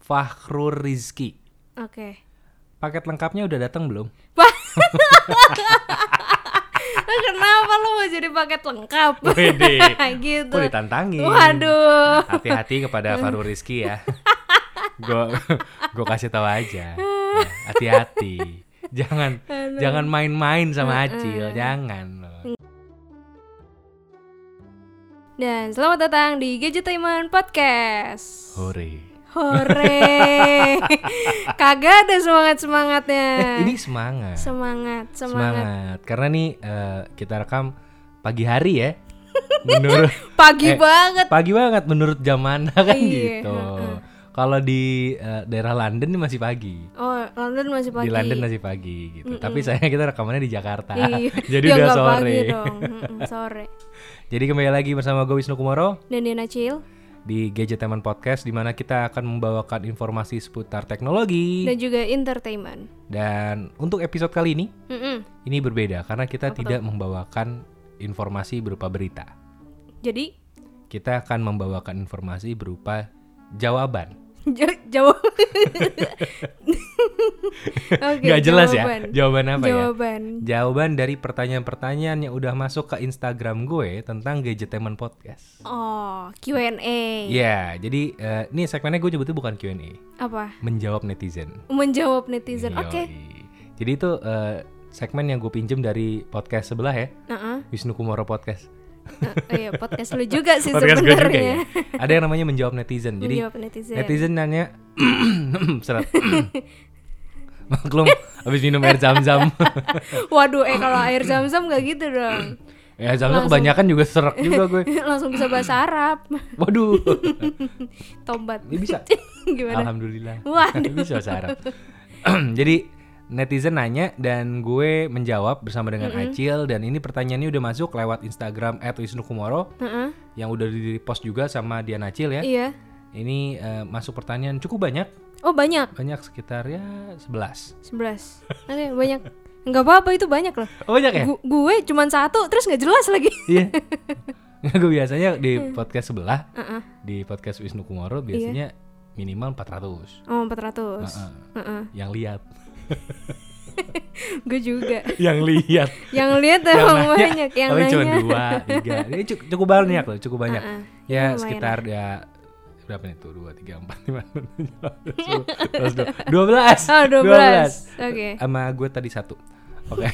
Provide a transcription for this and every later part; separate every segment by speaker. Speaker 1: Fahrur Rizki.
Speaker 2: Oke.
Speaker 1: Paket lengkapnya udah datang belum?
Speaker 2: Lah, Kenapa lo mau jadi paket lengkap?
Speaker 1: Wede.
Speaker 2: gitu.
Speaker 1: Kok ditantangin?
Speaker 2: Waduh.
Speaker 1: Hati-hati kepada Fahrur Rizki ya. Gue gue kasih tahu aja. Ya, Hati-hati. Jangan jangan main-main sama Acil, jangan. loh.
Speaker 2: Dan selamat datang di Gadgetaiman Podcast.
Speaker 1: Hore.
Speaker 2: Hore. Kagak ada
Speaker 1: Eh,
Speaker 2: semangat-semangatnya.
Speaker 1: Ini semangat.
Speaker 2: Eh, semangat, semangat.
Speaker 1: semangat karena nih eh, kita rekam pagi hari ya menurut
Speaker 2: Pagi
Speaker 1: Eh,
Speaker 2: banget.
Speaker 1: pagi banget menurut jam mana kan
Speaker 2: Iya,
Speaker 1: gitu kalau di eh, daerah London ini masih pagi.
Speaker 2: Oh, London masih pagi.
Speaker 1: di London masih pagi gitu tapi saya kita rekamannya di Jakarta
Speaker 2: Iya.
Speaker 1: jadi
Speaker 2: Ya,
Speaker 1: udah
Speaker 2: nggak
Speaker 1: sore
Speaker 2: Pagi dong. Mm-mm, sore.
Speaker 1: jadi kembali lagi bersama gue Wisnu Kumoro
Speaker 2: Dan Diana Cil
Speaker 1: di Gadget Teman Podcast di mana kita akan membawakan informasi seputar teknologi
Speaker 2: dan juga entertainment.
Speaker 1: dan untuk episode kali ini
Speaker 2: Mm-mm.
Speaker 1: ini berbeda karena kita tidak membawakan informasi berupa berita
Speaker 2: Jadi
Speaker 1: kita akan membawakan informasi berupa jawaban.
Speaker 2: ja- jawab. Oke,
Speaker 1: Nggak jelas
Speaker 2: jawaban.
Speaker 1: ya? Jawaban apa ya?
Speaker 2: Jawaban.
Speaker 1: Jawaban dari pertanyaan-pertanyaan yang udah masuk ke Instagram gue tentang Gadgetemen Podcast.
Speaker 2: Oh, Q&A.
Speaker 1: Ya, jadi eh, ini segmennya gue nyebutnya bukan Q&A,
Speaker 2: Apa?
Speaker 1: menjawab netizen.
Speaker 2: Menjawab netizen.
Speaker 1: Yoi.
Speaker 2: Oke.
Speaker 1: Jadi itu eh, segmen yang gue pinjem dari podcast sebelah ya,
Speaker 2: Heeh.
Speaker 1: Wisnu Kumoro Podcast.
Speaker 2: Eh, iya, podcast lu juga sih
Speaker 1: Podcast gue juga ya.
Speaker 2: sebenarnya.
Speaker 1: Ada yang namanya menjawab netizen. Jadi
Speaker 2: Menjawab netizen.
Speaker 1: Netizen nanya Seret Maklum Abis minum air zam-zam
Speaker 2: Waduh, eh kalau air zam-zam gak gitu dong.
Speaker 1: Ya zam-zam kebanyakan juga serak juga gue
Speaker 2: Langsung bisa bahasa Arab.
Speaker 1: Waduh
Speaker 2: Tobat.
Speaker 1: Ini bisa
Speaker 2: Gimana?
Speaker 1: Alhamdulillah
Speaker 2: Waduh.
Speaker 1: Bisa bahasa Arab Jadi netizen nanya dan gue menjawab bersama dengan Acil Dan ini pertanyaannya udah masuk lewat Instagram @wisnukumoro
Speaker 2: Heeh.
Speaker 1: Yang udah di repost juga sama Dian Acil ya
Speaker 2: Iya.
Speaker 1: Ini eh, masuk pertanyaan cukup banyak
Speaker 2: Oh, banyak.
Speaker 1: Banyak sekitar ya 11
Speaker 2: 11 Oke banyak nggak apa-apa itu banyak loh
Speaker 1: Oh banyak ya?
Speaker 2: Gu- Gue cuman satu terus nggak jelas lagi
Speaker 1: Iya. gue biasanya di podcast sebelah,
Speaker 2: Heeh.
Speaker 1: di podcast Wisnu
Speaker 2: Iya.
Speaker 1: Kumoro biasanya minimal 400
Speaker 2: Oh 400
Speaker 1: Heeh.
Speaker 2: Heeh.
Speaker 1: yang lihat.
Speaker 2: Gue juga
Speaker 1: yang lihat.
Speaker 2: Yang lihat
Speaker 1: Yang
Speaker 2: emang
Speaker 1: nanya,
Speaker 2: Oh, banyak Yang
Speaker 1: paling cuma
Speaker 2: nanya
Speaker 1: dua, tiga. Ini cu- cukup banyak loh, cukup banyak.
Speaker 2: Heeh.
Speaker 1: Ya
Speaker 2: Lumayan
Speaker 1: sekitar ya berapa nih tuh? 2 3 4 5 6 12.
Speaker 2: Oh 12,
Speaker 1: 12.
Speaker 2: Oke
Speaker 1: Sama gue tadi satu. Oke.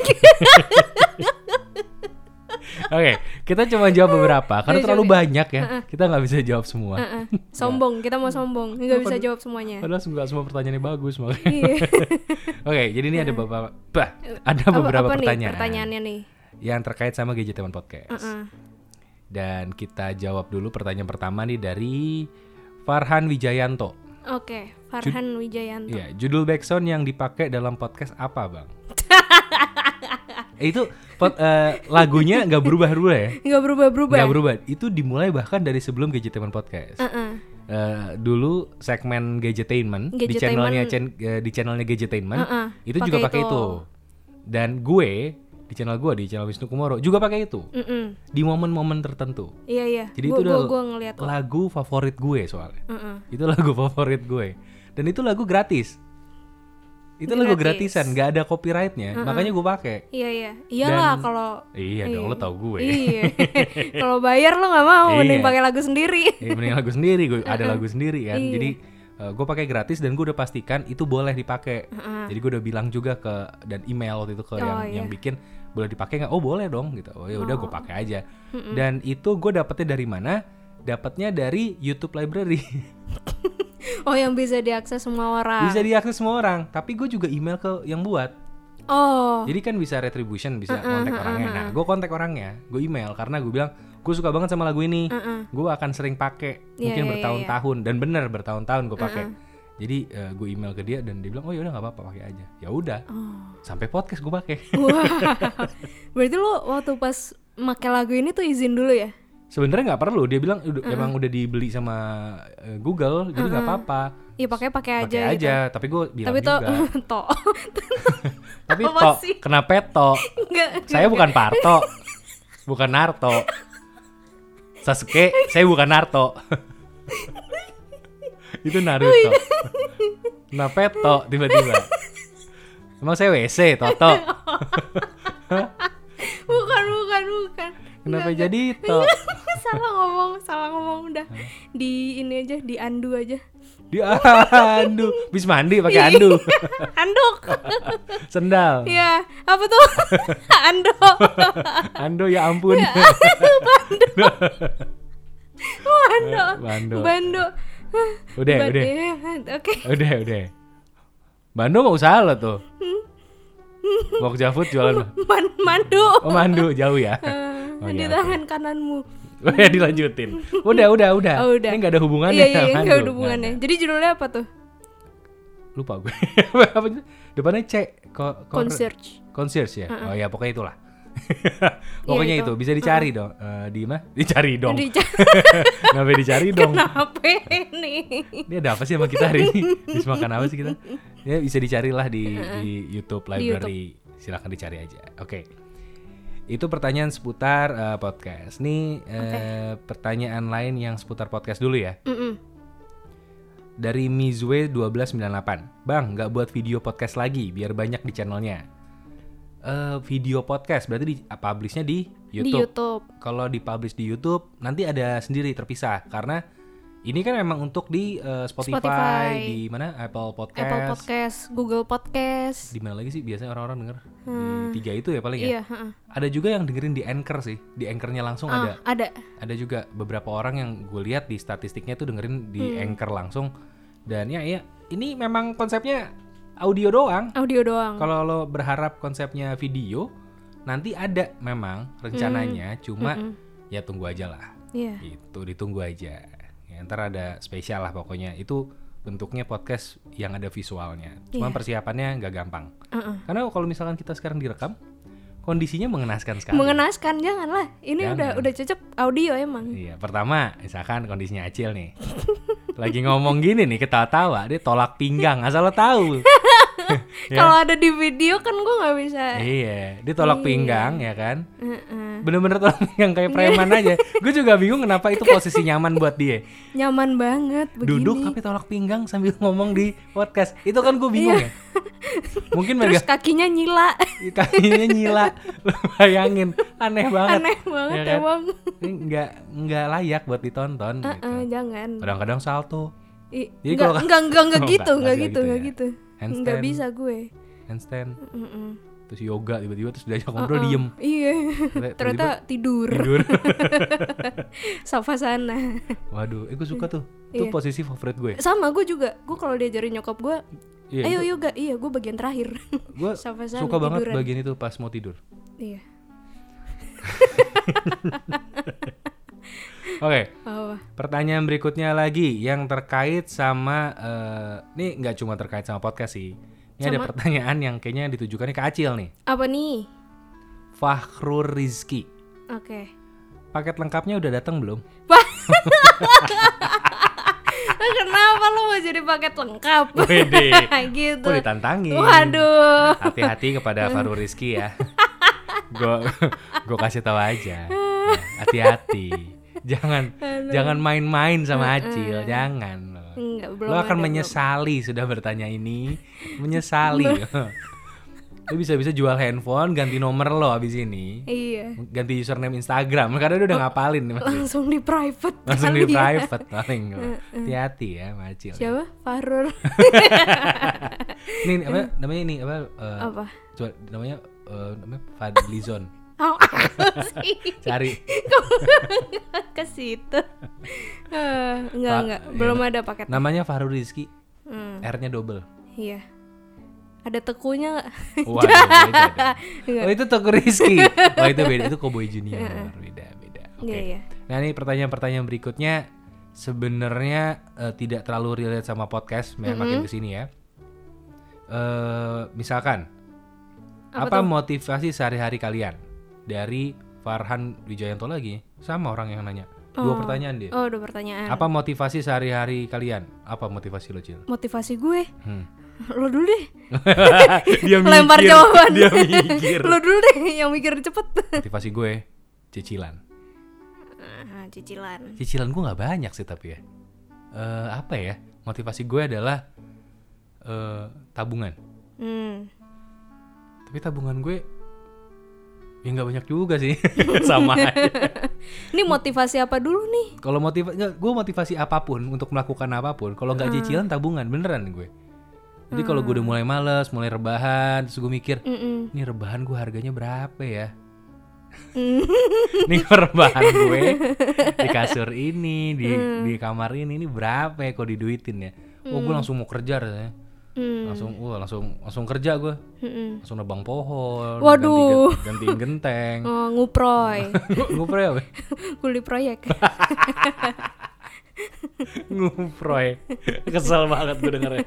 Speaker 1: Oke, kita cuma jawab beberapa karena
Speaker 2: Iya,
Speaker 1: terlalu
Speaker 2: coba.
Speaker 1: banyak ya. Kita nggak bisa jawab semua.
Speaker 2: Heeh. Sombong kita mau sombong nggak bisa jawab semuanya
Speaker 1: Padahal nggak semua pertanyaannya bagus makanya.
Speaker 2: Iya
Speaker 1: Oke, jadi ini ada beberapa bah, ada
Speaker 2: Apa-
Speaker 1: beberapa
Speaker 2: apa
Speaker 1: pertanyaan,
Speaker 2: nih pertanyaannya nih
Speaker 1: yang terkait sama gadget teman podcast.
Speaker 2: Heeh.
Speaker 1: Dan kita jawab dulu pertanyaan pertama nih dari Farhan Wijayanto.
Speaker 2: Oke Farhan Wijayanto
Speaker 1: Iya, judul backsound yang dipakai dalam podcast apa, Bang? Eh, itu pot- eh, lagunya nggak berubah-ubah ya?
Speaker 2: nggak berubah-berubah
Speaker 1: Nggak berubah. Itu dimulai bahkan dari sebelum gadget teman podcast.
Speaker 2: Heeh.
Speaker 1: Eh, dulu segmen gadgetainment, di
Speaker 2: Gadgetainment.
Speaker 1: channelnya cen- eh, di channelnya gadgetainment
Speaker 2: Heeh,
Speaker 1: itu
Speaker 2: pakai
Speaker 1: juga pakai
Speaker 2: itu.
Speaker 1: itu. dan gue di channel gue di channel Wisnu Kumoro juga pakai itu
Speaker 2: Mm-mm.
Speaker 1: di momen-momen tertentu
Speaker 2: Iya iya
Speaker 1: Jadi
Speaker 2: Gue
Speaker 1: itu udah-
Speaker 2: gue ngeliat
Speaker 1: lagu favorit gue soalnya
Speaker 2: Heeh.
Speaker 1: itu lagu favorit gue dan itu lagu gratis itu lagu
Speaker 2: Gratis.
Speaker 1: gratisan nggak ada copyrightnya makanya gue pakai
Speaker 2: Iya iya Iyalah
Speaker 1: Dan-
Speaker 2: kalau
Speaker 1: iya dong lo tau gue
Speaker 2: Iya. Kalau bayar lo nggak mau, mending
Speaker 1: Iya.
Speaker 2: pakai lagu sendiri.
Speaker 1: Eh, mending lagu sendiri gue ada lagu sendiri kan jadi gue pakai gratis dan gue udah pastikan itu boleh dipakai jadi gue udah bilang juga ke dan email waktu itu ke yang yang bikin boleh dipakai nggak oh boleh dong gitu oh ya udah gue pakai aja dan itu gue dapetnya dari mana dapatnya dari YouTube library
Speaker 2: Oh, yang bisa diakses semua orang.
Speaker 1: bisa diakses semua orang tapi gue juga email ke yang buat
Speaker 2: Oh,
Speaker 1: jadi kan bisa retribution bisa kontak orangnya nah gue kontak orangnya gue email karena gue bilang gue suka banget sama lagu ini gue akan sering pakai
Speaker 2: Iya,
Speaker 1: mungkin bertahun-tahun dan bener bertahun-tahun gue pakai jadi gue email ke dia dan dia bilang oh ya udah nggak apa-apa pakai aja ya udah
Speaker 2: Oh.
Speaker 1: sampai podcast gue pakai
Speaker 2: wah. Berarti lo waktu pas make lagu ini tuh izin dulu ya?
Speaker 1: sebenarnya nggak perlu dia bilang "Udah, emang udah dibeli sama eh, Google jadi nggak apa-apa
Speaker 2: Iya, pakai pakai aja. gitu.
Speaker 1: pakai aja, tapi gue bilang
Speaker 2: Tapi toh
Speaker 1: juga
Speaker 2: toh
Speaker 1: tapi
Speaker 2: Apa
Speaker 1: tok
Speaker 2: sih?
Speaker 1: kenapa tok
Speaker 2: enggak.
Speaker 1: saya bukan Parto bukan Narto Sasuke saya bukan Narto itu Naruto Nah peto tiba-tiba. Emang saya WC Toto?
Speaker 2: bukan bukan bukan
Speaker 1: Kenapa
Speaker 2: Nggak,
Speaker 1: jadi
Speaker 2: nggak.
Speaker 1: Tok?
Speaker 2: Nggak, salah ngomong salah ngomong udah di ini aja di andu aja
Speaker 1: Dia andu, bis mandi pakai andu,
Speaker 2: anduk
Speaker 1: sendal.
Speaker 2: ya apa tuh anduk
Speaker 1: Ando ya ampun.
Speaker 2: Oh, anduk
Speaker 1: Bando.
Speaker 2: bando
Speaker 1: Udah,
Speaker 2: Ban-
Speaker 1: udah.
Speaker 2: ya, oke
Speaker 1: Udah, udah. Bando mau usaha lo tuh. Mau ke Javut jualan. lo.
Speaker 2: man mandu
Speaker 1: Oh, mandu jauh ya. Oh,
Speaker 2: di
Speaker 1: iya,
Speaker 2: tangan kananmu
Speaker 1: Udah dilanjutin. Udah, udah, udah.
Speaker 2: Oh, udah.
Speaker 1: Ini gak ada hubungannya.
Speaker 2: iya iya
Speaker 1: sama
Speaker 2: iya,
Speaker 1: Ando.
Speaker 2: nggak ada hubungannya jadi judulnya apa tuh
Speaker 1: Nggak, Lupa gue. Apa itu? Depannya C. Ko, ko-
Speaker 2: concierge
Speaker 1: Concierge ya. Oh ya, pokoknya itulah. pokoknya
Speaker 2: Iya, itu.
Speaker 1: itu. bisa dicari dong. Eh, di mana? Dicari dong.
Speaker 2: Di-
Speaker 1: Kenapa dicari dong?
Speaker 2: kenapa ini
Speaker 1: Ini ada apa sih sama kita hari ini? Habis makan apa sih kita? Ya bisa dicarilah di, di YouTube library. Silahkan dicari aja. Oke. Itu pertanyaan seputar eh, podcast. Nih eh, pertanyaan lain yang seputar podcast dulu ya.
Speaker 2: Mm-mm.
Speaker 1: Dari Mizue 1298. Bang, nggak buat video podcast lagi biar banyak di channelnya. Eh video podcast berarti di ah, publishnya di
Speaker 2: di
Speaker 1: YouTube
Speaker 2: YouTube
Speaker 1: kalau dipublish di YouTube nanti ada sendiri terpisah karena ini kan memang untuk di eh, Spotify,
Speaker 2: Spotify.
Speaker 1: di mana Apple Podcast,
Speaker 2: Apple Podcast Google Podcast
Speaker 1: di mana lagi sih biasanya orang-orang denger di tiga itu ya paling ya
Speaker 2: Hmm. iya heeh.
Speaker 1: ada juga yang dengerin di Anchor sih di Anchornya langsung ada
Speaker 2: Ah, ada
Speaker 1: ada juga beberapa orang yang gue lihat di statistiknya tuh dengerin di Anchor langsung dan ya ya ini memang konsepnya audio doang
Speaker 2: audio doang
Speaker 1: kalau lo berharap konsepnya video nanti ada memang rencananya cuma ya tunggu aja lah
Speaker 2: iya
Speaker 1: Gitu, ditunggu aja. Ya, ntar ada spesial lah pokoknya. Itu bentuknya podcast yang ada visualnya. Cuma persiapannya nggak gampang.
Speaker 2: Heeh.
Speaker 1: Karena kalau misalkan kita sekarang direkam, kondisinya mengenaskan sekali.
Speaker 2: mengenaskan janganlah ini udah udah cocok audio emang
Speaker 1: Iya, pertama misalkan kondisinya Acil nih. Lagi ngomong gini nih ketawa-tawa, dia tolak pinggang, asal lo tahu. Ya.
Speaker 2: kalau ada di video kan gua nggak bisa
Speaker 1: iya, dia tolak pinggang ya kan.
Speaker 2: Heeh.
Speaker 1: Bener-bener tolak pinggang kayak preman aja. Gue juga bingung kenapa itu posisi nyaman buat dia.
Speaker 2: nyaman banget begini
Speaker 1: duduk tapi tolak pinggang sambil ngomong di podcast itu kan gue bingung ya mungkin
Speaker 2: Iya. terus
Speaker 1: mereka
Speaker 2: kakinya nyila
Speaker 1: kakinya nyila Lu bayangin aneh banget
Speaker 2: aneh banget
Speaker 1: ya kan?
Speaker 2: emang
Speaker 1: Ini nggak nggak layak buat ditonton
Speaker 2: Eh,
Speaker 1: gitu.
Speaker 2: eh, jangan
Speaker 1: kadang-kadang salto
Speaker 2: I-
Speaker 1: Jadi
Speaker 2: nggak
Speaker 1: kalau-
Speaker 2: nggak nggak nggak
Speaker 1: Oh,
Speaker 2: gitu
Speaker 1: nggak,
Speaker 2: nggak
Speaker 1: nggak gitu
Speaker 2: gitu nggak
Speaker 1: ya.
Speaker 2: gitu nggak
Speaker 1: handstand
Speaker 2: bisa gue
Speaker 1: handstand
Speaker 2: Mm-mm.
Speaker 1: terus yoga tiba-tiba terus diajak ngobrol diem
Speaker 2: iya
Speaker 1: Tiba-tiba
Speaker 2: ternyata tidur
Speaker 1: tidur
Speaker 2: sofa sana
Speaker 1: waduh eh gue suka tuh itu
Speaker 2: Iya.
Speaker 1: posisi favorit gue
Speaker 2: sama gue juga gue kalau diajarin nyokap gue
Speaker 1: iya
Speaker 2: ayo yoga iya gue bagian terakhir
Speaker 1: gue
Speaker 2: sofa sana
Speaker 1: suka banget
Speaker 2: tiduran.
Speaker 1: bagian itu pas mau tidur
Speaker 2: iya
Speaker 1: oke
Speaker 2: oh
Speaker 1: Pertanyaan berikutnya lagi yang terkait sama eh, ini nggak cuma terkait sama podcast sih. Ini ada pertanyaan yang kayaknya ditujukannya ke Acil nih.
Speaker 2: apa nih
Speaker 1: Fahrul Rizki.
Speaker 2: oke
Speaker 1: Paket lengkapnya udah datang belum?
Speaker 2: Lah, kenapa lo mau jadi paket lengkap
Speaker 1: Wede.
Speaker 2: gitu
Speaker 1: Gue ditantangin.
Speaker 2: waduh
Speaker 1: Hati-hati kepada Fahrul Rizki ya. Gue gue kasih tahu aja. Ya, Hati-hati. Jangan jangan main-main sama Acil, jangan.
Speaker 2: Enggak, belum
Speaker 1: lo akan
Speaker 2: ada,
Speaker 1: menyesali sudah bertanya ini menyesali lo bisa-bisa jual handphone ganti nomor lo abis ini
Speaker 2: iya
Speaker 1: ganti username Instagram karena dia udah ngapalin nih pasti.
Speaker 2: langsung di private
Speaker 1: langsung di
Speaker 2: kali Oh. ya.
Speaker 1: private paling lo. hati-hati ya macil
Speaker 2: siapa Farur
Speaker 1: ini apa namanya ini apa, eh,
Speaker 2: apa
Speaker 1: coba namanya eh, namanya Fadlizon
Speaker 2: Oh, apa sih
Speaker 1: cari
Speaker 2: ke situ Eh, enggak
Speaker 1: Pak,
Speaker 2: enggak
Speaker 1: iya.
Speaker 2: belum ada paket
Speaker 1: namanya Farul Rizki
Speaker 2: Hmm,
Speaker 1: R-nya double
Speaker 2: iya ada tekunya nggak?
Speaker 1: Waduh, beda dong.
Speaker 2: Enggak.
Speaker 1: oh itu Toko Rizky oh itu beda itu Cowboy Junior beda beda oke
Speaker 2: Iya, iya.
Speaker 1: Nah ini pertanyaan-pertanyaan berikutnya sebenarnya eh, tidak terlalu relate sama podcast
Speaker 2: Mm-hmm.
Speaker 1: memang makin kesini ya. eh misalkan apa, motivasi sehari-hari kalian dari Farhan Wijayanto lagi sama orang yang nanya dua pertanyaan dia.
Speaker 2: oh udah pertanyaan
Speaker 1: iya. Apa motivasi sehari-hari kalian? Apa motivasi lo cil?
Speaker 2: motivasi gue
Speaker 1: Hmm.
Speaker 2: lo dulu deh
Speaker 1: dia
Speaker 2: lempar jawaban
Speaker 1: Dia mikir.
Speaker 2: lo dulu deh yang mikir cepet
Speaker 1: motivasi gue cicilan.
Speaker 2: Ah, cicilan
Speaker 1: cicilan gue nggak banyak sih tapi ya Eh apa ya motivasi gue adalah eh eh, tabungan
Speaker 2: Hmm.
Speaker 1: tapi tabungan gue ya nggak banyak juga sih sama aja
Speaker 2: Ini motivasi apa dulu nih?
Speaker 1: kalau motivasi gue motivasi apapun untuk melakukan apapun kalau
Speaker 2: Hmm.
Speaker 1: nggak cicilan tabungan beneran gue jadi kalau gue udah mulai males mulai rebahan terus gue mikir
Speaker 2: Mm-mm.
Speaker 1: ini rebahan gue harganya berapa ya ini rebahan gue di kasur ini di
Speaker 2: Hmm.
Speaker 1: di kamar ini ini berapa ya kalau diduitin ya oh gue langsung mau kerja rasanya
Speaker 2: Hmm.
Speaker 1: langsung wah langsung langsung kerja gue
Speaker 2: Mm-mm.
Speaker 1: langsung nebang pohon
Speaker 2: Waduh.
Speaker 1: ganti, gantiin genteng
Speaker 2: Oh, nguproy.
Speaker 1: nguproy apa ya?
Speaker 2: Kuli proyek.
Speaker 1: nguproy kesel banget gue dengernya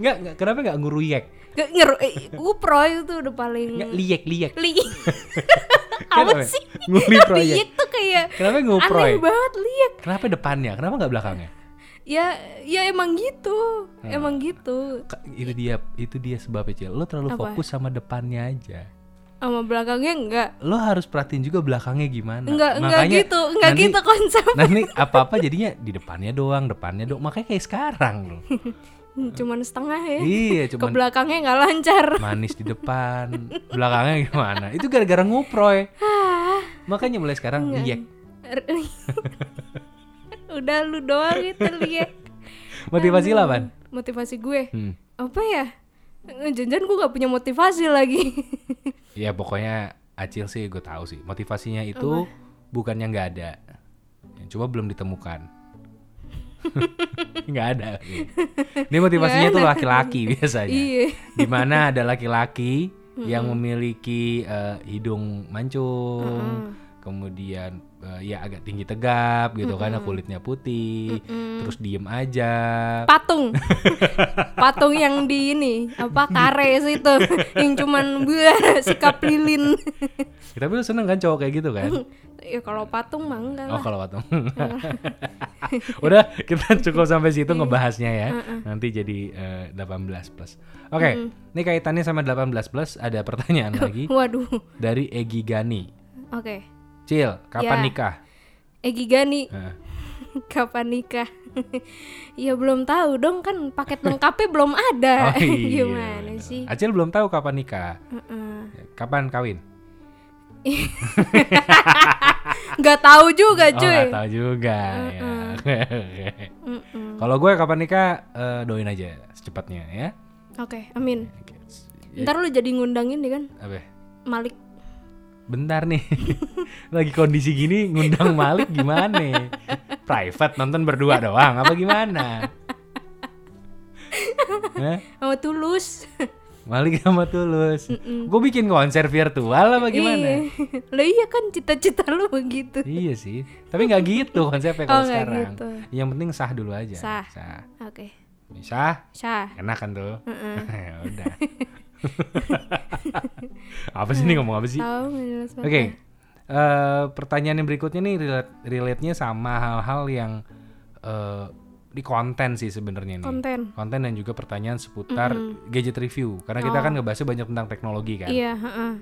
Speaker 1: nggak nggak kenapa nggak nguruyek
Speaker 2: Nggak ngeru eh, nguproy itu udah paling
Speaker 1: nggak liek liek
Speaker 2: li
Speaker 1: Kenapa
Speaker 2: apa
Speaker 1: ya?
Speaker 2: sih?
Speaker 1: Nguli proyek.
Speaker 2: Liek tuh kayak
Speaker 1: kenapa nguproy
Speaker 2: aneh banget liek.
Speaker 1: kenapa depannya kenapa nggak belakangnya
Speaker 2: Ya ya emang gitu.
Speaker 1: Hmm.
Speaker 2: Emang gitu.
Speaker 1: Ka- itu dia itu dia sebabnya cil lo terlalu fokus sama depannya aja
Speaker 2: Sama belakangnya enggak.
Speaker 1: lo harus perhatiin juga belakangnya gimana
Speaker 2: Enggak, enggak
Speaker 1: Nah, Makanya
Speaker 2: gitu. Enggak
Speaker 1: nanti-
Speaker 2: gitu konsep.
Speaker 1: nanti apa apa jadinya di depannya doang depannya doang makanya kayak sekarang lo
Speaker 2: Hmm, Cuman setengah ya.
Speaker 1: iya
Speaker 2: Ke
Speaker 1: cuman
Speaker 2: belakangnya nggak lancar.
Speaker 1: manis di depan belakangnya gimana itu gara-gara nguproy
Speaker 2: Ah,
Speaker 1: makanya mulai
Speaker 2: Iya.
Speaker 1: sekarang liek
Speaker 2: er, Udah lu doang itu liek.
Speaker 1: motivasi lah Van
Speaker 2: Motivasi gue.
Speaker 1: Hmm.
Speaker 2: Apa ya? Jangan gue nggak punya motivasi lagi.
Speaker 1: ya pokoknya acil sih gue tahu sih motivasinya itu bukannya nggak ada Ya, cuma belum ditemukan nggak ada ini motivasinya tuh laki-laki biasanya
Speaker 2: iya.
Speaker 1: dimana ada laki-laki yang memiliki eh, hidung mancung kemudian eh, ya agak tinggi tegap gitu kan kulitnya putih terus diem aja
Speaker 2: Patung. Patung yang di ini, apa kare situ yang cuman buah sikap lilin.
Speaker 1: Ya, tapi lu seneng kan cowok kayak gitu kan
Speaker 2: ya kalau patung mah enggak
Speaker 1: Oh
Speaker 2: lah. Iya.
Speaker 1: kalau patung. Udah kita cukup sampai situ ngebahasnya ya. Nanti jadi eh, 18 plus. Oke, ini kaitannya sama 18 plus ada pertanyaan lagi
Speaker 2: Waduh.
Speaker 1: dari Egi Gani.
Speaker 2: Oke.
Speaker 1: Cil, kapan
Speaker 2: Ya.
Speaker 1: nikah? Eh,
Speaker 2: Egi Gani
Speaker 1: Heeh.
Speaker 2: kapan nikah? ya belum tahu dong kan paket lengkapnya belum ada.
Speaker 1: Oh, iya,
Speaker 2: Eh, Gimana
Speaker 1: bener.
Speaker 2: sih?
Speaker 1: Acil belum tahu kapan nikah.
Speaker 2: Heeh.
Speaker 1: Kapan kawin?
Speaker 2: Nggak tahu juga,
Speaker 1: Oh, nggak
Speaker 2: Eh, cuy.
Speaker 1: tahu juga. ya.
Speaker 2: Mm-mm.
Speaker 1: Kalau gue kapan nikah eh, doain aja secepatnya ya.
Speaker 2: Oke, amin.
Speaker 1: Oke. Ya,
Speaker 2: Ntar lu jadi ngundangin deh kan
Speaker 1: apa ya?
Speaker 2: Malik.
Speaker 1: Bentar nih, lagi kondisi gini ngundang Malik gimana? Private nonton berdua doang, apa gimana? Hah?
Speaker 2: Sama Tulus.
Speaker 1: Malik sama Tulus, gue bikin konser virtual apa Oh, gimana?
Speaker 2: Iya. Lah iya kan cita-cita lu begitu.
Speaker 1: iya sih, tapi nggak gitu konsepnya
Speaker 2: Oh,
Speaker 1: kalau
Speaker 2: nggak
Speaker 1: sekarang.
Speaker 2: gitu.
Speaker 1: Yang penting sah dulu aja.
Speaker 2: Sah.
Speaker 1: sah,
Speaker 2: Oke.
Speaker 1: sah,
Speaker 2: Syah.
Speaker 1: enak kan tuh? Ya Udah. apa sih ini ngomong apa sih?
Speaker 2: Tahu nggak jelas banget.
Speaker 1: Iya. Oke. Eh, pertanyaan yang berikutnya nih relate relate-nya sama hal-hal yang eh, di konten sih sebenarnya nih.
Speaker 2: Konten.
Speaker 1: Konten dan juga pertanyaan seputar gadget review karena kita kan ngebahasnya banyak tentang teknologi kan.
Speaker 2: Oh. Iya, heeh.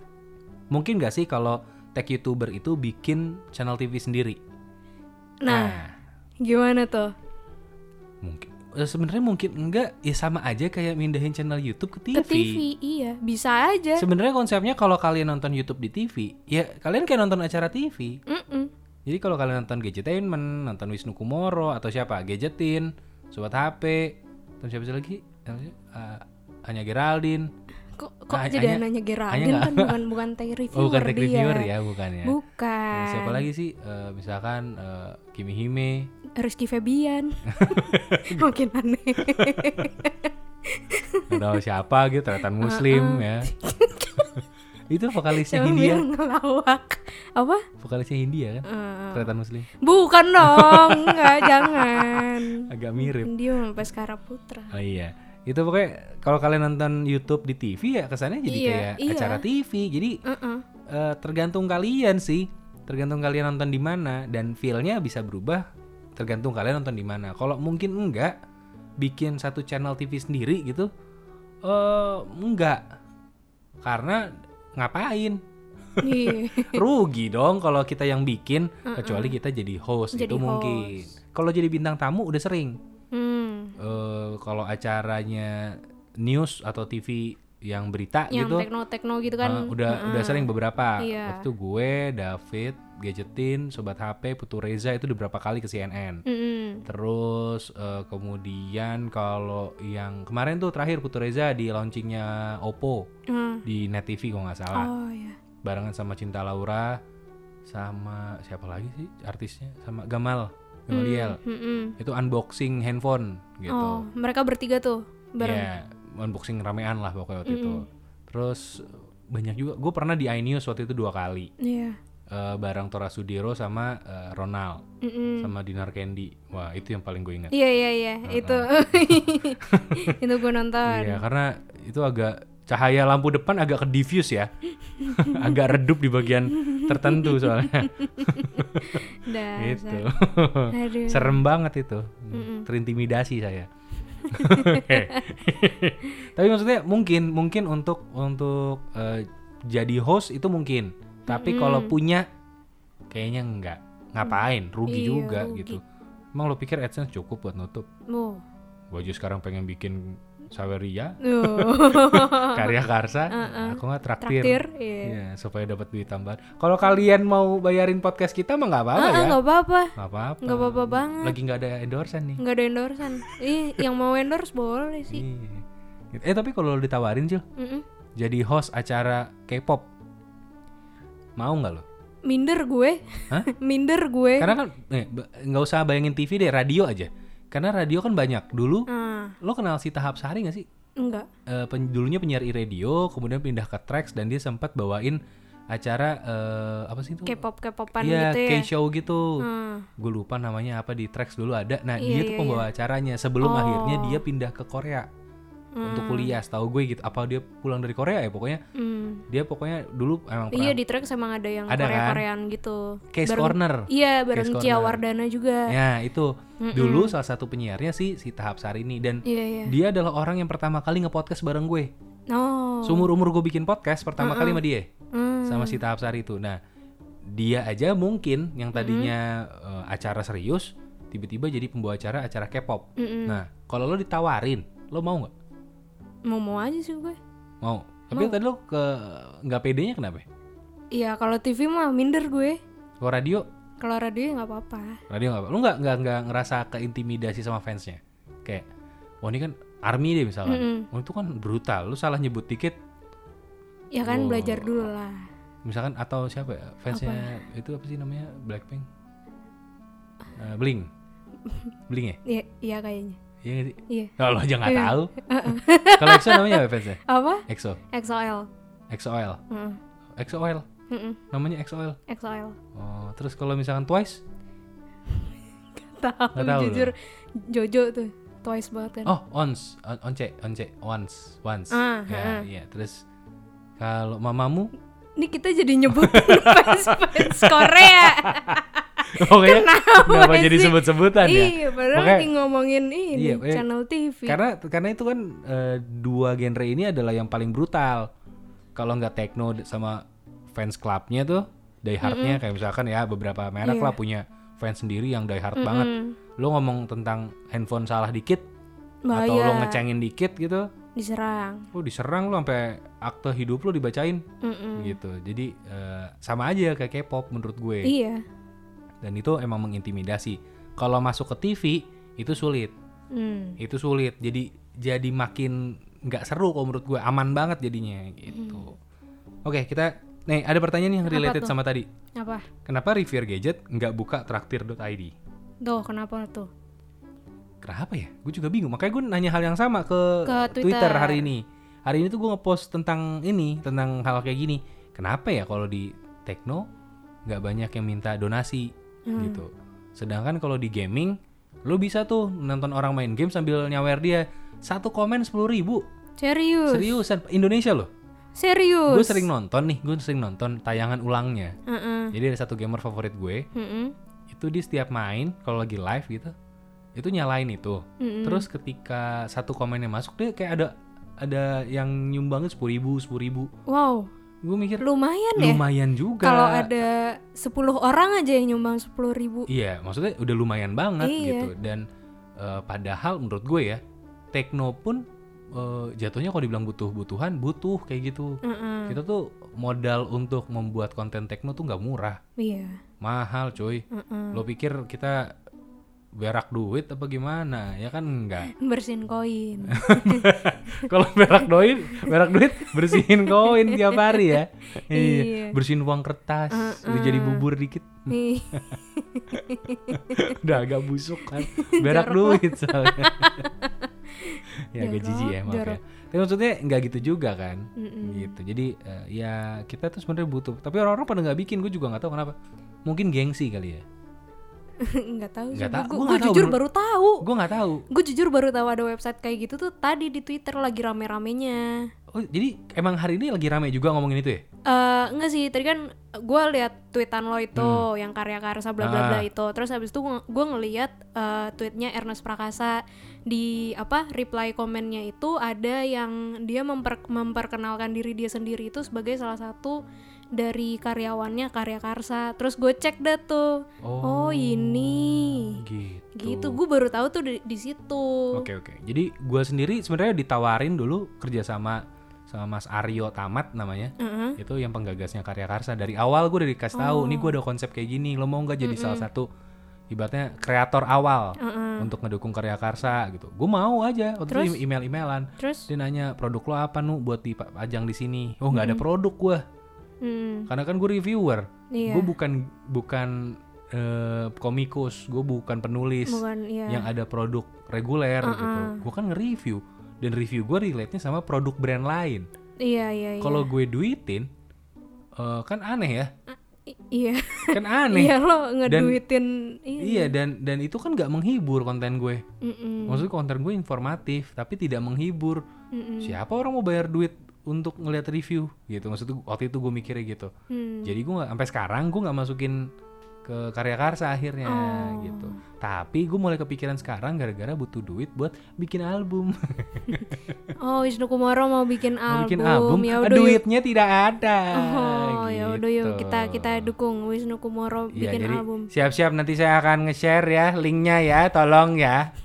Speaker 1: Mungkin nggak sih kalau tech YouTuber itu bikin channel TV sendiri?
Speaker 2: Nah, gimana tuh?
Speaker 1: mungkin eh, sebenarnya mungkin enggak ya sama aja kayak mindahin channel YouTube ke TV.
Speaker 2: Ke TV, iya, bisa aja.
Speaker 1: Sebenarnya konsepnya kalau kalian nonton YouTube di TV, ya kalian kayak nonton acara TV.
Speaker 2: Mm-mm.
Speaker 1: Jadi kalau kalian nonton Gadgetainment, nonton Wisnu Kumoro atau siapa, Gadgetin, Sobat HP, terus siapa sih lagi? Siapa sih? Eh, Anya Geraldine.
Speaker 2: Kok kok
Speaker 1: Nah,
Speaker 2: jadi
Speaker 1: Anya-
Speaker 2: anaknya
Speaker 1: Anya
Speaker 2: Geraldine
Speaker 1: nggak-
Speaker 2: kan bukan bukan tech reviewer
Speaker 1: Oh, bukan tech
Speaker 2: dia.
Speaker 1: reviewer ya, bukan ya.
Speaker 2: iya. Bukan.
Speaker 1: Siapa lagi sih? Eh, misalkan eh, Kimi Hime.
Speaker 2: Rizky Febian. Mungkin aneh.
Speaker 1: atau siapa gitu, Tretan Muslim ya. Itu vokalisnya
Speaker 2: Uh-uh. Siapa ya?
Speaker 1: Hindia,
Speaker 2: yang ngelawak? Apa?
Speaker 1: vokalisnya Hindia kan?
Speaker 2: Eh,
Speaker 1: Tretan Muslim.
Speaker 2: bukan dong, enggak jangan.
Speaker 1: Agak mirip.
Speaker 2: Dia sampai sekarang putra.
Speaker 1: Oh iya. Itu pokoknya kalau kalian nonton YouTube di TV ya kesannya jadi
Speaker 2: Iya,
Speaker 1: kayak
Speaker 2: iya.
Speaker 1: acara TV. Jadi
Speaker 2: Heeh.
Speaker 1: Eh, tergantung kalian sih tergantung kalian nonton di mana dan feel-nya bisa berubah tergantung kalian nonton di mana kalau mungkin enggak bikin satu channel TV sendiri gitu eh enggak karena ngapain
Speaker 2: Iya.
Speaker 1: rugi dong kalau kita yang bikin kecuali kita jadi host gitu
Speaker 2: Jadi
Speaker 1: itu mungkin kalau jadi bintang tamu udah sering
Speaker 2: Hmm.
Speaker 1: Eh, eh, kalau acaranya news atau TV yang berita
Speaker 2: yang
Speaker 1: gitu
Speaker 2: tekno-tekno
Speaker 1: eh,
Speaker 2: gitu kan
Speaker 1: udah udah sering beberapa
Speaker 2: Iya.
Speaker 1: waktu itu gue David gadgetin sobat HP Putu Reza itu udah berapa kali ke CNN
Speaker 2: Mm-mm.
Speaker 1: terus eh, kemudian kalau yang kemarin tuh terakhir Putu Reza di launchingnya Oppo
Speaker 2: Hmm.
Speaker 1: di Net TV kalau nggak salah
Speaker 2: oh ya
Speaker 1: barengan sama Cinta Laura sama siapa lagi sih artisnya sama Gamal Gamaliel
Speaker 2: Mm-mm.
Speaker 1: itu unboxing handphone gitu
Speaker 2: Hmm. oh mereka bertiga tuh bareng Hmm.
Speaker 1: ya unboxing ramean lah pokoknya waktu itu terus banyak juga gue pernah di iNews waktu itu dua kali
Speaker 2: iya
Speaker 1: Eh, bareng Tora Sudiro sama eh, Ronald
Speaker 2: Mm-mm.
Speaker 1: sama Dinar Candy wah itu yang paling gue ingat
Speaker 2: iya iya iya itu itu gue nonton
Speaker 1: Iya, karena itu agak cahaya lampu depan agak ke diffuse ya. agak redup di bagian tertentu soalnya.
Speaker 2: Dasar.
Speaker 1: gitu.
Speaker 2: aduh
Speaker 1: Serem banget itu. Terintimidasi saya. Tapi maksudnya mungkin mungkin untuk untuk eh, jadi host itu mungkin. Tapi kalau punya kayaknya enggak. Ngapain? Rugi
Speaker 2: Iya,
Speaker 1: juga
Speaker 2: rugi.
Speaker 1: gitu. Emang lo pikir AdSense cukup buat nutup?
Speaker 2: Wow.
Speaker 1: Gue aja sekarang pengen bikin Saweria,
Speaker 2: Tuh.
Speaker 1: karya Karsa, aku nggak traktir.
Speaker 2: Uh-uh. traktir iya
Speaker 1: Iya, supaya dapat duit tambahan. Kalau kalian mau bayarin podcast kita mah nggak apa-apa
Speaker 2: Ah, ah,
Speaker 1: ya. Ah.
Speaker 2: nggak apa-apa
Speaker 1: Nggak apa-apa.
Speaker 2: nggak apa-apa banget
Speaker 1: Lagi nggak ada endorsean nih.
Speaker 2: nggak ada endorsean ih yang mau endorse boleh sih
Speaker 1: Iya. Gitu. Eh tapi kalau lo ditawarin Cil,
Speaker 2: Mm-mm.
Speaker 1: jadi host acara K-pop, mau nggak lo?
Speaker 2: minder gue
Speaker 1: Hah?
Speaker 2: minder gue
Speaker 1: Karena kan eh, ba- nggak usah bayangin TV deh, radio aja. Karena radio kan banyak. Dulu
Speaker 2: ah
Speaker 1: lo kenal si Tahap Sari nggak sih?
Speaker 2: enggak
Speaker 1: Eh, pen- dulunya penyiar radio, kemudian pindah ke Trax dan dia sempat bawain acara eh, apa sih itu?
Speaker 2: K-pop K-popan
Speaker 1: Iya,
Speaker 2: gitu ya
Speaker 1: K-show gitu.
Speaker 2: Ah.
Speaker 1: gue lupa namanya apa di tracks dulu ada nah
Speaker 2: Iya,
Speaker 1: dia tuh
Speaker 2: iya,
Speaker 1: pembawa acaranya sebelum
Speaker 2: Oh.
Speaker 1: akhirnya dia pindah ke Korea untuk kuliah tahu gue gitu apa dia pulang dari Korea ya pokoknya
Speaker 2: Hmm.
Speaker 1: dia pokoknya dulu emang
Speaker 2: Iya
Speaker 1: pernah
Speaker 2: di track emang ada yang
Speaker 1: Ada kan?
Speaker 2: Korea-Koreaan gitu.
Speaker 1: case
Speaker 2: Bareng-
Speaker 1: corner
Speaker 2: Iya bareng
Speaker 1: Case
Speaker 2: Cia
Speaker 1: corner.
Speaker 2: Wardana juga.
Speaker 1: ya itu dulu salah satu penyiarnya sih si Tahap Sari ini dan
Speaker 2: Iya iya.
Speaker 1: dia adalah orang yang pertama kali nge-podcast bareng gue
Speaker 2: Oh.
Speaker 1: seumur umur gue bikin podcast pertama kali sama dia
Speaker 2: Hmm.
Speaker 1: sama si Tahap Sari itu nah dia aja mungkin yang tadinya eh, acara serius tiba-tiba jadi pembawa acara acara K-pop
Speaker 2: Mm-mm.
Speaker 1: Nah, kalau lo ditawarin, lo mau nggak?
Speaker 2: Mau mau aja sih gue.
Speaker 1: Mau. Tapi tadi lo ke nggak pedenya kenapa? ya?
Speaker 2: Iya kalau TV mah minder gue.
Speaker 1: Kalau radio,
Speaker 2: Kalau radio ya nggak apa-apa.
Speaker 1: radio Nah, nggak apa? Lo nggak nggak nggak ngerasa keintimidasi sama fansnya? Kayak, wah ini kan army deh misalnya. Wah itu kan brutal. Lo salah nyebut dikit,
Speaker 2: Ya kan
Speaker 1: Oh.
Speaker 2: belajar dulu lah.
Speaker 1: misalkan atau siapa ya fansnya itu apa sih namanya Blackpink? Eh, Blink, Blink ya?
Speaker 2: Iya iya kayaknya.
Speaker 1: Iya nggak sih?
Speaker 2: Iya.
Speaker 1: Nah, lo aja nggak tahu. Kalau EXO namanya apa fansnya?
Speaker 2: Apa?
Speaker 1: EXO,
Speaker 2: XOL.
Speaker 1: EXO-L,
Speaker 2: Mm-mm.
Speaker 1: EXO-L,
Speaker 2: Mm-mm.
Speaker 1: namanya EXO-L.
Speaker 2: XOL.
Speaker 1: Oh, terus kalau misalkan Twice?
Speaker 2: Tahu
Speaker 1: Nggak tahu
Speaker 2: jujur Jojo tuh twice banget kan.
Speaker 1: Oh, ons, on- once, once, once, once.
Speaker 2: Ah,
Speaker 1: ya,
Speaker 2: ah.
Speaker 1: iya. Terus kalau mamamu,
Speaker 2: Ini kita jadi nyebutin fans fans Korea.
Speaker 1: oke, kenapa
Speaker 2: sih?
Speaker 1: jadi sebut-sebutan ya?
Speaker 2: Iya, padahal
Speaker 1: Makanya-
Speaker 2: lagi ngomongin ini
Speaker 1: Iya, makanya-
Speaker 2: channel TV.
Speaker 1: Karena karena itu kan eh, dua genre ini adalah yang paling brutal. Kalau nggak techno d- sama fans clubnya tuh, die hardnya kayak misalkan ya beberapa merek
Speaker 2: Iya.
Speaker 1: lah punya fans sendiri yang die hard banget.
Speaker 2: Hmm,
Speaker 1: Lo ngomong tentang handphone salah dikit atau lo
Speaker 2: Bahaya.
Speaker 1: ngecengin dikit gitu,
Speaker 2: diserang.
Speaker 1: lo diserang lo sampai akte hidup lo dibacain.
Speaker 2: Mm-mm.
Speaker 1: gitu jadi eh, sama aja kayak K-pop menurut gue
Speaker 2: Iya.
Speaker 1: dan itu emang mengintimidasi kalau masuk ke TV itu sulit
Speaker 2: Hmm.
Speaker 1: itu sulit jadi jadi makin nggak seru kalau menurut gue aman banget jadinya gitu oke kita nih ada pertanyaan yang
Speaker 2: Apa
Speaker 1: related
Speaker 2: Hmm. tuh?
Speaker 1: sama tadi
Speaker 2: Apa?
Speaker 1: kenapa reviewer gadget nggak buka traktir.id
Speaker 2: Tuh, kenapa tuh?
Speaker 1: kenapa ya gue juga bingung makanya gue nanya hal yang sama ke,
Speaker 2: Ke
Speaker 1: Twitter.
Speaker 2: Twitter.
Speaker 1: hari ini hari ini tuh gue ngepost tentang ini tentang hal kayak gini kenapa ya kalau di Tekno nggak banyak yang minta donasi
Speaker 2: Hmm.
Speaker 1: gitu sedangkan kalau di gaming lo bisa tuh nonton orang main game sambil nyawer dia satu komen sepuluh ribu
Speaker 2: Serius.
Speaker 1: seriusan Indonesia loh
Speaker 2: Serius.
Speaker 1: gue sering nonton nih gue sering nonton tayangan ulangnya
Speaker 2: Heeh.
Speaker 1: jadi ada satu gamer favorit gue
Speaker 2: Heeh.
Speaker 1: itu dia setiap main kalau lagi live gitu itu nyalain itu
Speaker 2: Mm-mm.
Speaker 1: terus ketika satu komennya masuk dia kayak ada ada yang nyumbangin sepuluh ribu sepuluh ribu
Speaker 2: Wow,
Speaker 1: gue mikir
Speaker 2: lumayan ya.
Speaker 1: lumayan juga
Speaker 2: Kalau ada 10 orang aja yang nyumbang 10.000 ribu
Speaker 1: iya maksudnya udah lumayan banget
Speaker 2: Iya.
Speaker 1: gitu dan eh, padahal menurut gue ya techno pun eh, jatuhnya kalau dibilang butuh-butuhan butuh kayak gitu.
Speaker 2: Mm-mm.
Speaker 1: Kita tuh modal untuk membuat konten techno tuh nggak murah,
Speaker 2: Iya.
Speaker 1: mahal cuy.
Speaker 2: Mm-mm.
Speaker 1: Lo pikir kita berak duit apa gimana? Ya kan enggak.
Speaker 2: Bersihin koin.
Speaker 1: Kalau berak duit, berak duit bersihin koin tiap hari ya.
Speaker 2: Iya.
Speaker 1: Bersihin uang kertas, udah jadi bubur dikit.
Speaker 2: Nih.
Speaker 1: udah agak busuk kan berak duit soalnya ya agak
Speaker 2: Jorok,
Speaker 1: jijik ya maaf ya
Speaker 2: jorok.
Speaker 1: tapi maksudnya nggak gitu juga kan
Speaker 2: Mm-mm.
Speaker 1: gitu jadi eh, ya kita tuh sebenarnya butuh tapi orang-orang pada nggak bikin gue juga nggak tahu kenapa mungkin gengsi kali ya
Speaker 2: nggak tahu sih
Speaker 1: Nggak tahu, gua
Speaker 2: gue
Speaker 1: nggak tahu
Speaker 2: jujur
Speaker 1: bener.
Speaker 2: baru tahu
Speaker 1: gue nggak tahu
Speaker 2: gue jujur baru tahu ada website kayak gitu tuh tadi di twitter lagi rame-ramenya
Speaker 1: oh, jadi emang hari ini lagi rame juga ngomongin itu ya
Speaker 2: Eh enggak sih tadi kan gue lihat tweetan lo itu yang karya karsa bla bla bla
Speaker 1: Hmm. Ah.
Speaker 2: itu terus habis itu gue ngeliat eh, tweetnya Ernest Prakasa di apa reply komennya itu ada yang dia memper- memperkenalkan diri dia sendiri itu sebagai salah satu dari karyawannya karya karsa terus gue cek dah tuh oh, ini
Speaker 1: gitu
Speaker 2: gitu gue baru tahu tuh di, di situ
Speaker 1: Oke oke. Jadi gue sendiri sebenarnya ditawarin dulu kerja sama sama Mas Aryo Tamat namanya.
Speaker 2: Heeh.
Speaker 1: Hmm? Itu yang penggagasnya Karya Karsa. Dari awal gue udah dikasih tahu, nih gue ada konsep kayak gini. Lo mau nggak jadi salah satu ibaratnya kreator awal untuk ngedukung Karya Karsa gitu. Gue mau aja. Waktu
Speaker 2: Terus?
Speaker 1: itu email-emailan.
Speaker 2: terus
Speaker 1: Dia nanya produk lo apa nu buat dipajang di sini. Oh nggak ada produk gue.
Speaker 2: hmm,
Speaker 1: Karena kan gue reviewer.
Speaker 2: Iya.
Speaker 1: Gue bukan bukan eh, komikus. Gue bukan penulis
Speaker 2: bukan ya
Speaker 1: yang ada produk reguler gitu. Gue kan nge-review dan review gue relate-nya sama produk brand lain.
Speaker 2: iya iya iya
Speaker 1: Kalau gue duitin eh, kan aneh ya,
Speaker 2: I- iya
Speaker 1: kan aneh.
Speaker 2: Iya lo ngeduitin
Speaker 1: Iya
Speaker 2: iya.
Speaker 1: dan dan itu kan nggak menghibur konten gue.
Speaker 2: Mm-mm.
Speaker 1: Maksudnya konten gue informatif tapi tidak menghibur.
Speaker 2: Mm-mm.
Speaker 1: Siapa orang mau bayar duit untuk ngeliat review gitu? Maksudnya waktu itu gue mikirnya gitu.
Speaker 2: Hmm.
Speaker 1: Jadi gue nggak- sampai sekarang gue nggak masukin ke karya karsa akhirnya
Speaker 2: Oh.
Speaker 1: gitu. Tapi gue mulai kepikiran sekarang gara-gara butuh duit buat bikin album.
Speaker 2: Oh Wisnu Kumoro mau bikin
Speaker 1: Mau
Speaker 2: album,
Speaker 1: bikin album,
Speaker 2: ya
Speaker 1: ah,
Speaker 2: udah yuk.
Speaker 1: duitnya tidak ada.
Speaker 2: Oh ya udah yuk
Speaker 1: gitu.
Speaker 2: kita kita dukung Wisnu Kumoro
Speaker 1: Iya,
Speaker 2: bikin
Speaker 1: jadi
Speaker 2: album.
Speaker 1: siap-siap nanti saya akan nge-share ya linknya ya, tolong ya,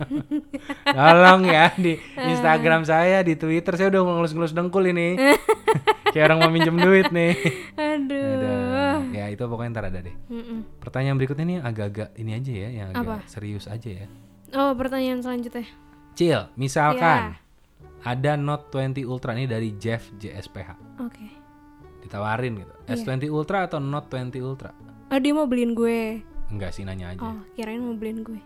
Speaker 1: tolong ya di
Speaker 2: Eh.
Speaker 1: Instagram saya, di Twitter saya udah ngelus-ngelus dengkul ini, kayak orang mau minjem duit nih.
Speaker 2: Aduh.
Speaker 1: Aduh. Ya itu pokoknya ntar ada deh.
Speaker 2: Mm-mm.
Speaker 1: Pertanyaan berikutnya nih yang agak-agak ini aja ya, yang agak serius aja ya.
Speaker 2: Oh pertanyaan selanjutnya.
Speaker 1: Cil,
Speaker 2: Iya.
Speaker 1: misalkan ada Note 20 Ultra ini dari Jeff JSPH.
Speaker 2: Oke.
Speaker 1: ditawarin gitu.
Speaker 2: Iya.
Speaker 1: S20 Ultra atau Note 20 Ultra?
Speaker 2: Oh dia mau beliin gue.
Speaker 1: Enggak sih nanya aja.
Speaker 2: Oh kirain mau beliin gue.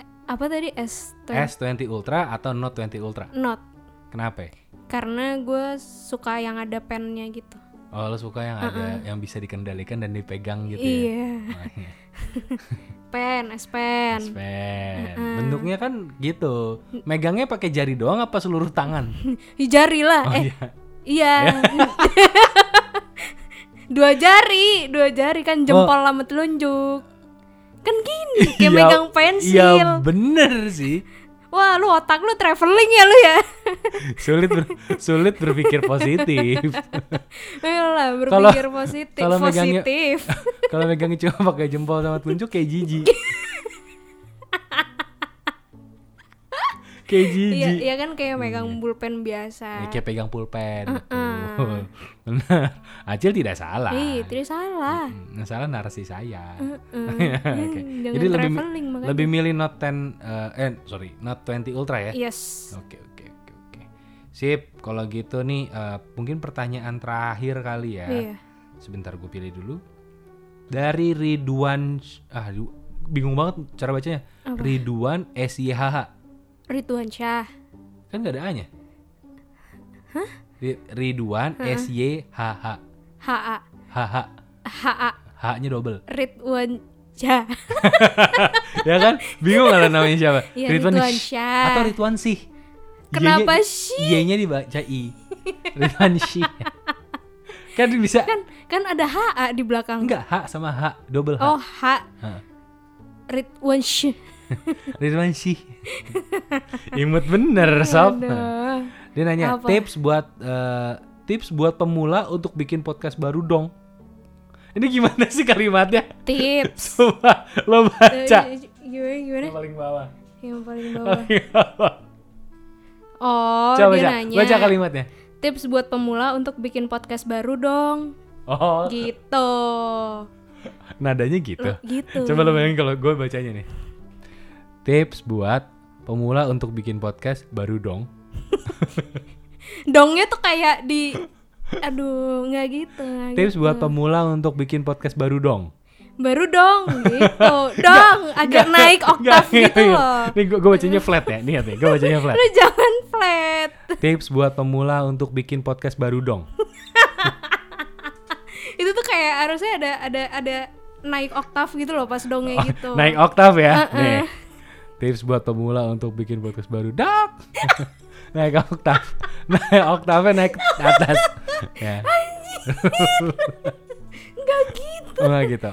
Speaker 2: Eh, Apa tadi S
Speaker 1: Eh. S20 Ultra atau Note 20 Ultra?
Speaker 2: not
Speaker 1: Kenapa? ya?
Speaker 2: karena gue suka yang ada pennya gitu.
Speaker 1: Oh, lo suka yang ada yang bisa dikendalikan dan dipegang gitu ya.
Speaker 2: Iya.
Speaker 1: Oh, iya.
Speaker 2: Pen, S pen.
Speaker 1: Pen. Bentuknya kan gitu. Megangnya pakai jari doang apa seluruh tangan?
Speaker 2: Ih, jari lah.
Speaker 1: Oh,
Speaker 2: eh, iya.
Speaker 1: Ya.
Speaker 2: dua jari, dua jari kan jempol sama telunjuk. Kan gini,
Speaker 1: Oh.
Speaker 2: kayak
Speaker 1: Ya-
Speaker 2: megang pensil.
Speaker 1: Ya bener sih.
Speaker 2: Wah, lu otak lu traveling ya lu ya.
Speaker 1: Sulit ber- sulit berpikir positif. Kalau-
Speaker 2: Ayolah, Ya berpikir positif,
Speaker 1: kalau megangnya-
Speaker 2: positif.
Speaker 1: Kalau megangnya cuma pakai jempol sama telunjuk kayak jijik. kayak jijik.
Speaker 2: Iya, iya kan kayak megang pulpen biasa.
Speaker 1: Ya, kayak pegang pulpen. betul. Benar. Acil tidak salah.
Speaker 2: Ih, tidak salah.
Speaker 1: Hmm, Yang salah narasi saya. Oke.
Speaker 2: Iya, Jangan
Speaker 1: Jadi lebih
Speaker 2: traveling, makanya.
Speaker 1: lebih milih Note 10 eh, eh sorry, Note 20 Ultra
Speaker 2: Iya.
Speaker 1: ya.
Speaker 2: Yes.
Speaker 1: Oke, oke, oke, oke. Sip, kalau gitu nih eh, mungkin pertanyaan terakhir kali ya.
Speaker 2: Iya.
Speaker 1: Sebentar gue pilih dulu. Dari Ridwan ah aduh, bingung banget cara bacanya. Ridwan S Y H H.
Speaker 2: Rituan Syah.
Speaker 1: Kan gak ada A-nya. Ri- Ridwan S Y H H.
Speaker 2: HA.
Speaker 1: H H.
Speaker 2: HA
Speaker 1: H-nya double.
Speaker 2: Ridwan Syah.
Speaker 1: ya kan? Bingung kalau namanya siapa?
Speaker 2: Iya, Ridwan
Speaker 1: Sh-
Speaker 2: Syah.
Speaker 1: Atau Iya, Ridwan Sih.
Speaker 2: Ah. Kenapa
Speaker 1: Y-nya-
Speaker 2: Sih?
Speaker 1: Y-nya dibaca I. Ridwan Sih. kan bisa
Speaker 2: Kan kan ada HA di belakang.
Speaker 1: enggak H sama H double H.
Speaker 2: Oh, H.
Speaker 1: Hah.
Speaker 2: Ridwan Syah.
Speaker 1: Ridwan Sih. Imut bener sob.
Speaker 2: Aduh.
Speaker 1: Dia nanya
Speaker 2: Apa?
Speaker 1: tips buat eh, tips buat pemula untuk bikin podcast baru dong. Ini gimana sih kalimatnya?
Speaker 2: Tips.
Speaker 1: Coba lo baca.
Speaker 2: Eh, Gimana gimana?
Speaker 1: Paling bawah.
Speaker 2: Yang paling bawah. Oh,
Speaker 1: Coba
Speaker 2: dia
Speaker 1: baca,
Speaker 2: nanya.
Speaker 1: baca kalimatnya.
Speaker 2: Tips buat pemula untuk bikin podcast baru dong.
Speaker 1: Oh,
Speaker 2: Gitu.
Speaker 1: nadanya gitu.
Speaker 2: Gitu.
Speaker 1: Coba lo bayangin kalau gue bacanya nih. Tips buat pemula untuk bikin podcast baru dong.
Speaker 2: Dongnya tuh kayak di aduh, nggak gitu. nggak
Speaker 1: Tips
Speaker 2: gitu.
Speaker 1: buat pemula untuk bikin podcast baru dong.
Speaker 2: baru dong gitu. dong, agak naik oktav gitu loh.
Speaker 1: Nih gue bacanya flat ya, nih gue bacanya flat.
Speaker 2: Lu jangan flat.
Speaker 1: Tips buat pemula untuk bikin podcast baru dong.
Speaker 2: Itu tuh kayak harusnya ada ada ada naik oktav gitu loh pas dongnya gitu.
Speaker 1: Oh, Naik oktav ya. Nih. Tips buat pemula untuk bikin podcast baru dong. naik oktav. Naik oktavnya naik ke atas. ya.
Speaker 2: Nggak gitu.
Speaker 1: Oh, nggak gitu.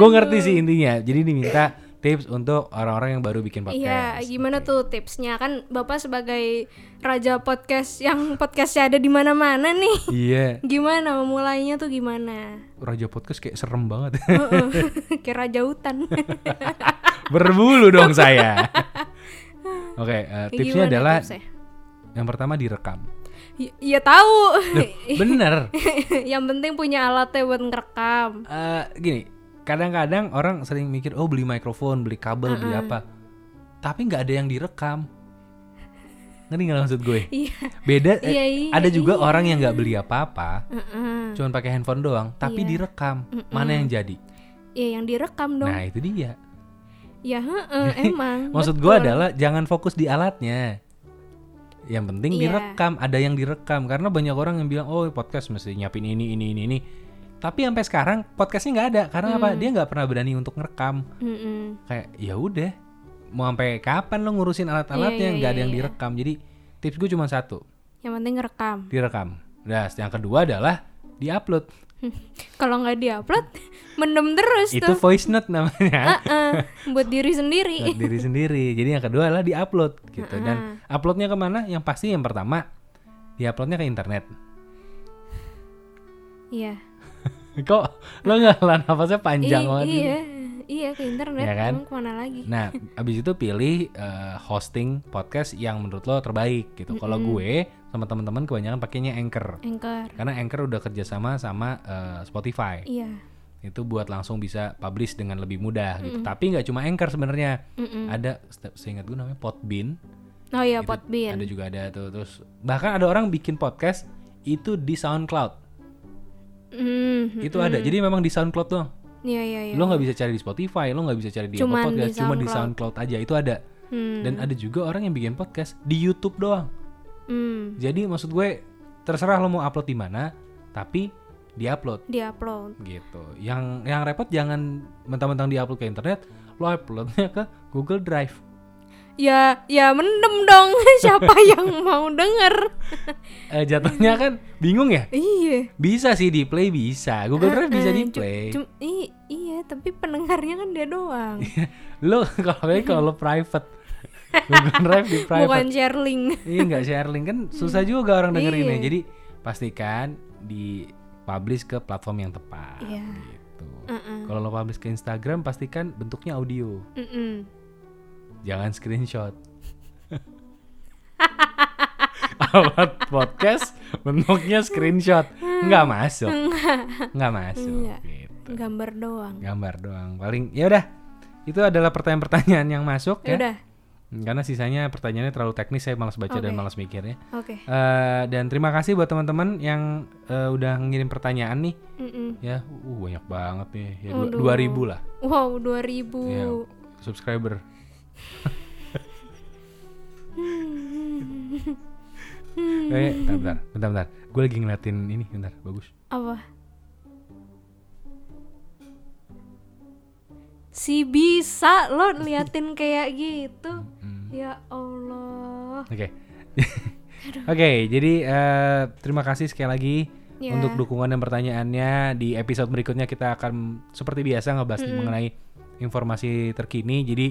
Speaker 1: Gue ngerti sih intinya. Jadi diminta tips untuk orang-orang yang baru bikin podcast.
Speaker 2: Iya, gimana tuh tipsnya? Kan Bapak sebagai raja podcast yang podcastnya ada di mana-mana nih.
Speaker 1: Iya,
Speaker 2: Gimana memulainya tuh gimana?
Speaker 1: raja podcast kayak serem banget.
Speaker 2: Heeh. Kayak raja hutan.
Speaker 1: Berbulu dong saya. Oke, eh,
Speaker 2: Kayak
Speaker 1: tipsnya
Speaker 2: gimana
Speaker 1: adalah
Speaker 2: tipsnya?
Speaker 1: yang pertama direkam.
Speaker 2: Y- ya tahu.
Speaker 1: Bener.
Speaker 2: yang penting punya alatnya buat ngerekam.
Speaker 1: Eh, gini, kadang-kadang orang sering mikir oh beli mikrofon, beli kabel, beli apa. Tapi nggak ada yang direkam. Ngerti nggak maksud gue?
Speaker 2: Iya.
Speaker 1: Beda. eh,
Speaker 2: Iya, iya,
Speaker 1: ada juga orang yang nggak beli apa-apa,
Speaker 2: Heeh.
Speaker 1: cuman pakai handphone doang. Tapi direkam. Mana yang jadi?
Speaker 2: Ya yang direkam Iya. dong.
Speaker 1: Nah itu dia.
Speaker 2: Ya heeh, emang.
Speaker 1: Maksud gue adalah jangan fokus di alatnya. Yang penting
Speaker 2: Iya.
Speaker 1: direkam, ada yang direkam karena banyak orang yang bilang oh podcast mesti nyiapin ini ini ini ini. Tapi sampai sekarang podcastnya nggak ada karena
Speaker 2: Hmm.
Speaker 1: apa? Dia nggak pernah berani untuk ngerekam.
Speaker 2: Heeh.
Speaker 1: Kayak ya udah mau sampai kapan lo ngurusin alat-alatnya
Speaker 2: Iya, iya,
Speaker 1: nggak ada
Speaker 2: iya,
Speaker 1: yang
Speaker 2: iya.
Speaker 1: direkam. Jadi tips gue cuma satu,
Speaker 2: Yang penting ngerekam.
Speaker 1: direkam. Nah, yang kedua adalah diupload.
Speaker 2: Kalau nggak diupload, mendem terus
Speaker 1: Itu
Speaker 2: tuh.
Speaker 1: voice note namanya.
Speaker 2: Heeh, buat diri sendiri.
Speaker 1: buat diri sendiri. Jadi yang kedua adalah diupload gitu. Dan uploadnya kemana? Yang pasti yang pertama diuploadnya ke internet.
Speaker 2: Iya.
Speaker 1: Kok lo ngelan nafasnya panjang
Speaker 2: I-
Speaker 1: banget? gitu?
Speaker 2: iya. Iya ke internet
Speaker 1: Iya kan?
Speaker 2: emang kemana lagi?
Speaker 1: Nah, abis itu pilih eh, hosting podcast yang menurut lo terbaik gitu. Kalau gue sama teman-teman kebanyakan pakainya Anchor.
Speaker 2: Anchor.
Speaker 1: Karena Anchor udah kerjasama sama eh, Spotify.
Speaker 2: Iya.
Speaker 1: Itu buat langsung bisa publish dengan lebih mudah gitu. Tapi nggak cuma Anchor sebenarnya. Ada se- seingat gue namanya Podbean.
Speaker 2: Oh
Speaker 1: Itu
Speaker 2: iya,
Speaker 1: Gitu.
Speaker 2: Podbean.
Speaker 1: Ada juga ada tuh terus bahkan ada orang bikin podcast itu di SoundCloud.
Speaker 2: Hmm,
Speaker 1: Itu ada. Jadi memang di SoundCloud tuh.
Speaker 2: Iya iya iya.
Speaker 1: Lo nggak bisa cari di Spotify, lo nggak bisa cari di Apple
Speaker 2: Cuman di
Speaker 1: Podcast, cuma di
Speaker 2: SoundCloud.
Speaker 1: SoundCloud aja itu ada.
Speaker 2: Hmm.
Speaker 1: Dan ada juga orang yang bikin podcast di YouTube doang.
Speaker 2: Hmm,
Speaker 1: Jadi maksud gue terserah lo mau upload di mana, tapi di-upload
Speaker 2: diupload.
Speaker 1: gitu. Yang yang repot jangan mentang-mentang di-upload ke internet, lo uploadnya ke Google Drive.
Speaker 2: Ya, ya mendem dong. Siapa yang mau denger?
Speaker 1: Eh, jatuhnya
Speaker 2: Mm.
Speaker 1: kan bingung ya?
Speaker 2: iya.
Speaker 1: Bisa sih di play bisa, Google Drive bisa
Speaker 2: Eh,
Speaker 1: di
Speaker 2: cu-
Speaker 1: play.
Speaker 2: cu- i- iya, tapi pendengarnya kan dia doang.
Speaker 1: lo kalau kayak kalau lo private Google Drive di
Speaker 2: Bukan
Speaker 1: private
Speaker 2: share link.
Speaker 1: iya nggak share link kan susah juga orang dengerinnya
Speaker 2: Iya.
Speaker 1: jadi pastikan di publish ke platform yang tepat
Speaker 2: Iya.
Speaker 1: gitu kalau lo publish ke Instagram pastikan bentuknya audio
Speaker 2: Mm-mm.
Speaker 1: jangan screenshot alat podcast bentuknya screenshot nggak
Speaker 2: Hmm.
Speaker 1: masuk nggak masuk
Speaker 2: Iya.
Speaker 1: gitu
Speaker 2: Gambar doang.
Speaker 1: gambar doang paling ya udah itu adalah pertanyaan-pertanyaan yang masuk ya
Speaker 2: Ya udah.
Speaker 1: Hmm, Karena sisanya pertanyaannya terlalu teknis, saya malas baca dan malas mikirnya.
Speaker 2: Oke.
Speaker 1: Eh, dan terima kasih buat teman-teman yang eh, udah ngirim pertanyaan nih.
Speaker 2: Mm-mm.
Speaker 1: Ya, uh, banyak banget nih. Ya,
Speaker 2: Aduh.
Speaker 1: dua, 2000 lah
Speaker 2: Wow, 2000.
Speaker 1: ya, subscriber. eh, bentar, bentar, bentar, bentar. Gue lagi ngeliatin ini, bentar, bagus.
Speaker 2: Apa? Si bisa lo liatin kayak gitu. Ya Allah.
Speaker 1: Oke. Oke, jadi eh, terima kasih sekali lagi
Speaker 2: Ya.
Speaker 1: untuk dukungan dan pertanyaannya. Di episode berikutnya kita akan seperti biasa ngebahas mengenai informasi terkini. Jadi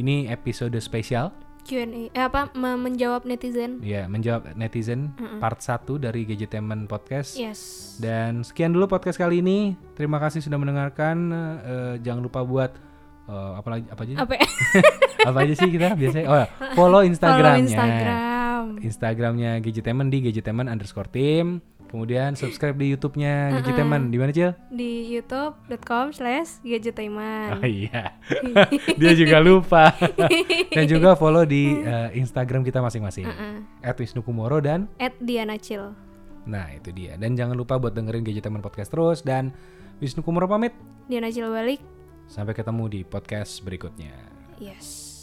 Speaker 1: ini episode spesial
Speaker 2: Q&A. Eh, apa me- menjawab netizen?
Speaker 1: ya menjawab netizen part 1 dari Gadgetainment Podcast.
Speaker 2: Yes.
Speaker 1: Dan sekian dulu podcast kali ini. Terima kasih sudah mendengarkan. Eh, jangan lupa buat eh, apa lagi apa aja?
Speaker 2: Apa?
Speaker 1: apa aja sih kita biasanya? Oh, ya, follow
Speaker 2: Follow
Speaker 1: Instagramnya.
Speaker 2: Instagram.
Speaker 1: Instagramnya Gadgetemen di Gadgetemen underscore tim. Kemudian subscribe di YouTube-nya Gadgetemen. Di mana, Cil?
Speaker 2: di youtube.com slash
Speaker 1: Oh
Speaker 2: gadgetainment.
Speaker 1: iya. Dia juga lupa. dan juga follow di eh, Instagram kita masing-masing. At Wisnu Kumoro dan
Speaker 2: At Diana Chill.
Speaker 1: nah itu dia. Dan jangan lupa buat dengerin Gadgetemen podcast terus dan Wisnu Kumoro pamit.
Speaker 2: Diana Chill balik.
Speaker 1: Sampai ketemu di podcast berikutnya.
Speaker 2: Yes.